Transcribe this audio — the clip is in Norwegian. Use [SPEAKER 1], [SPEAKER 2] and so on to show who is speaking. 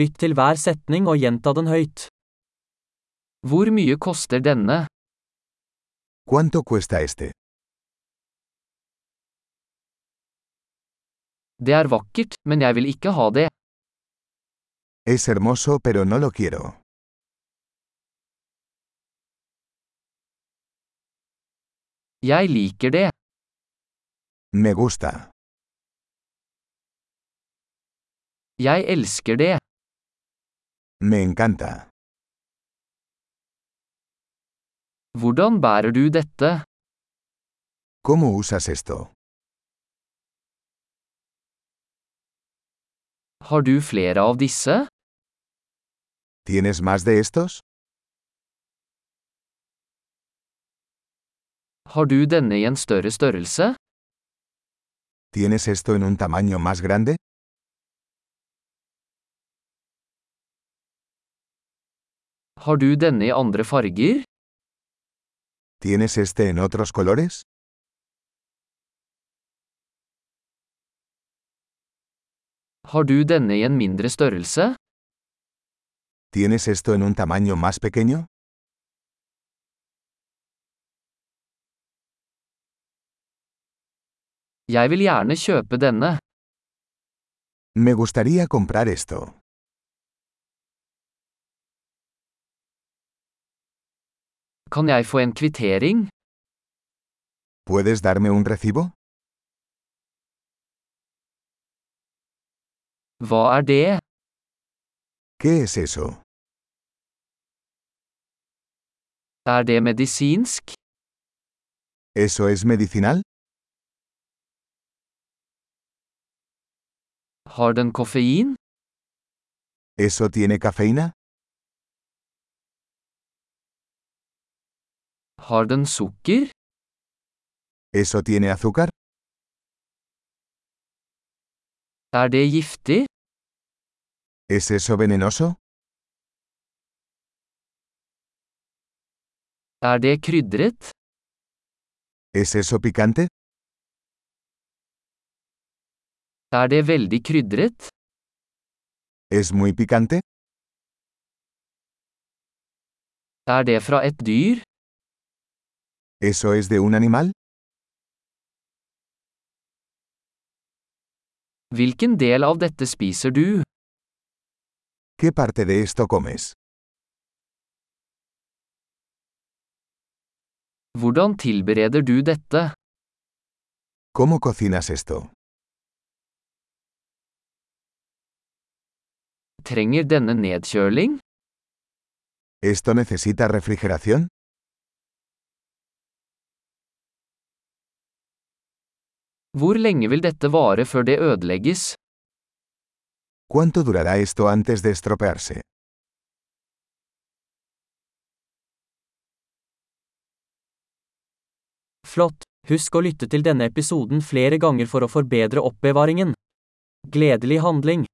[SPEAKER 1] Lytt til hver setning og gjenta den høyt. Hvor mye koster denne?
[SPEAKER 2] ¿Cuánto cuesta este?
[SPEAKER 1] Det er vakkert, men jeg vil ikke ha det.
[SPEAKER 2] Es hermoso pero no lo quiero.
[SPEAKER 1] Jeg liker det.
[SPEAKER 2] Me gusta.
[SPEAKER 1] Jeg elsker det.
[SPEAKER 2] Me encanta.
[SPEAKER 1] Hvordan bærer du dette?
[SPEAKER 2] ¿Cómo usas esto?
[SPEAKER 1] Har du flere av disse?
[SPEAKER 2] ¿Tienes más de estos?
[SPEAKER 1] Har du denne i en større størrelse?
[SPEAKER 2] ¿Tienes esto en un tamaño más grande?
[SPEAKER 1] Har du denne i andre farger?
[SPEAKER 2] ¿Tienes este en otros colores?
[SPEAKER 1] Har du denne i en mindre størrelse?
[SPEAKER 2] ¿Tienes esto en un tamaño más pequeño?
[SPEAKER 1] Jeg vil gjerne kjøpe denne.
[SPEAKER 2] Me gustaría comprar esto.
[SPEAKER 1] Kan jeg få en kvittering?
[SPEAKER 2] ¿Puedes darme un recibo?
[SPEAKER 1] Hva er det?
[SPEAKER 2] ¿Qué es eso?
[SPEAKER 1] Er det medisinsk?
[SPEAKER 2] ¿Eso es medicinal?
[SPEAKER 1] Har den koffein?
[SPEAKER 2] ¿Eso tiene cafeína?
[SPEAKER 1] Har den sukker?
[SPEAKER 2] ¿Eso tiene azúcar?
[SPEAKER 1] Er det giftig?
[SPEAKER 2] ¿Es eso venenoso?
[SPEAKER 1] Er det krydret?
[SPEAKER 2] ¿Es eso picante?
[SPEAKER 1] Er det veldig krydret?
[SPEAKER 2] ¿Es muy picante?
[SPEAKER 1] Er det fra et dyr?
[SPEAKER 2] ¿Eso es de un animal?
[SPEAKER 1] Hvilken del av dette spiser du?
[SPEAKER 2] ¿Qué parte de esto comes?
[SPEAKER 1] Hvordan tilbereder du dette?
[SPEAKER 2] ¿Cómo cocinas esto?
[SPEAKER 1] Trenger denne nedkjøling?
[SPEAKER 2] ¿Esto necesita refrigeración?
[SPEAKER 1] Hvor lenge vil dette vare før det ødelegges?
[SPEAKER 2] ¿Cuánto durará esto antes de estropearse?
[SPEAKER 1] Flott! Husk å lytte til denne episoden flere ganger for å forbedre oppbevaringen. Gledelig handling!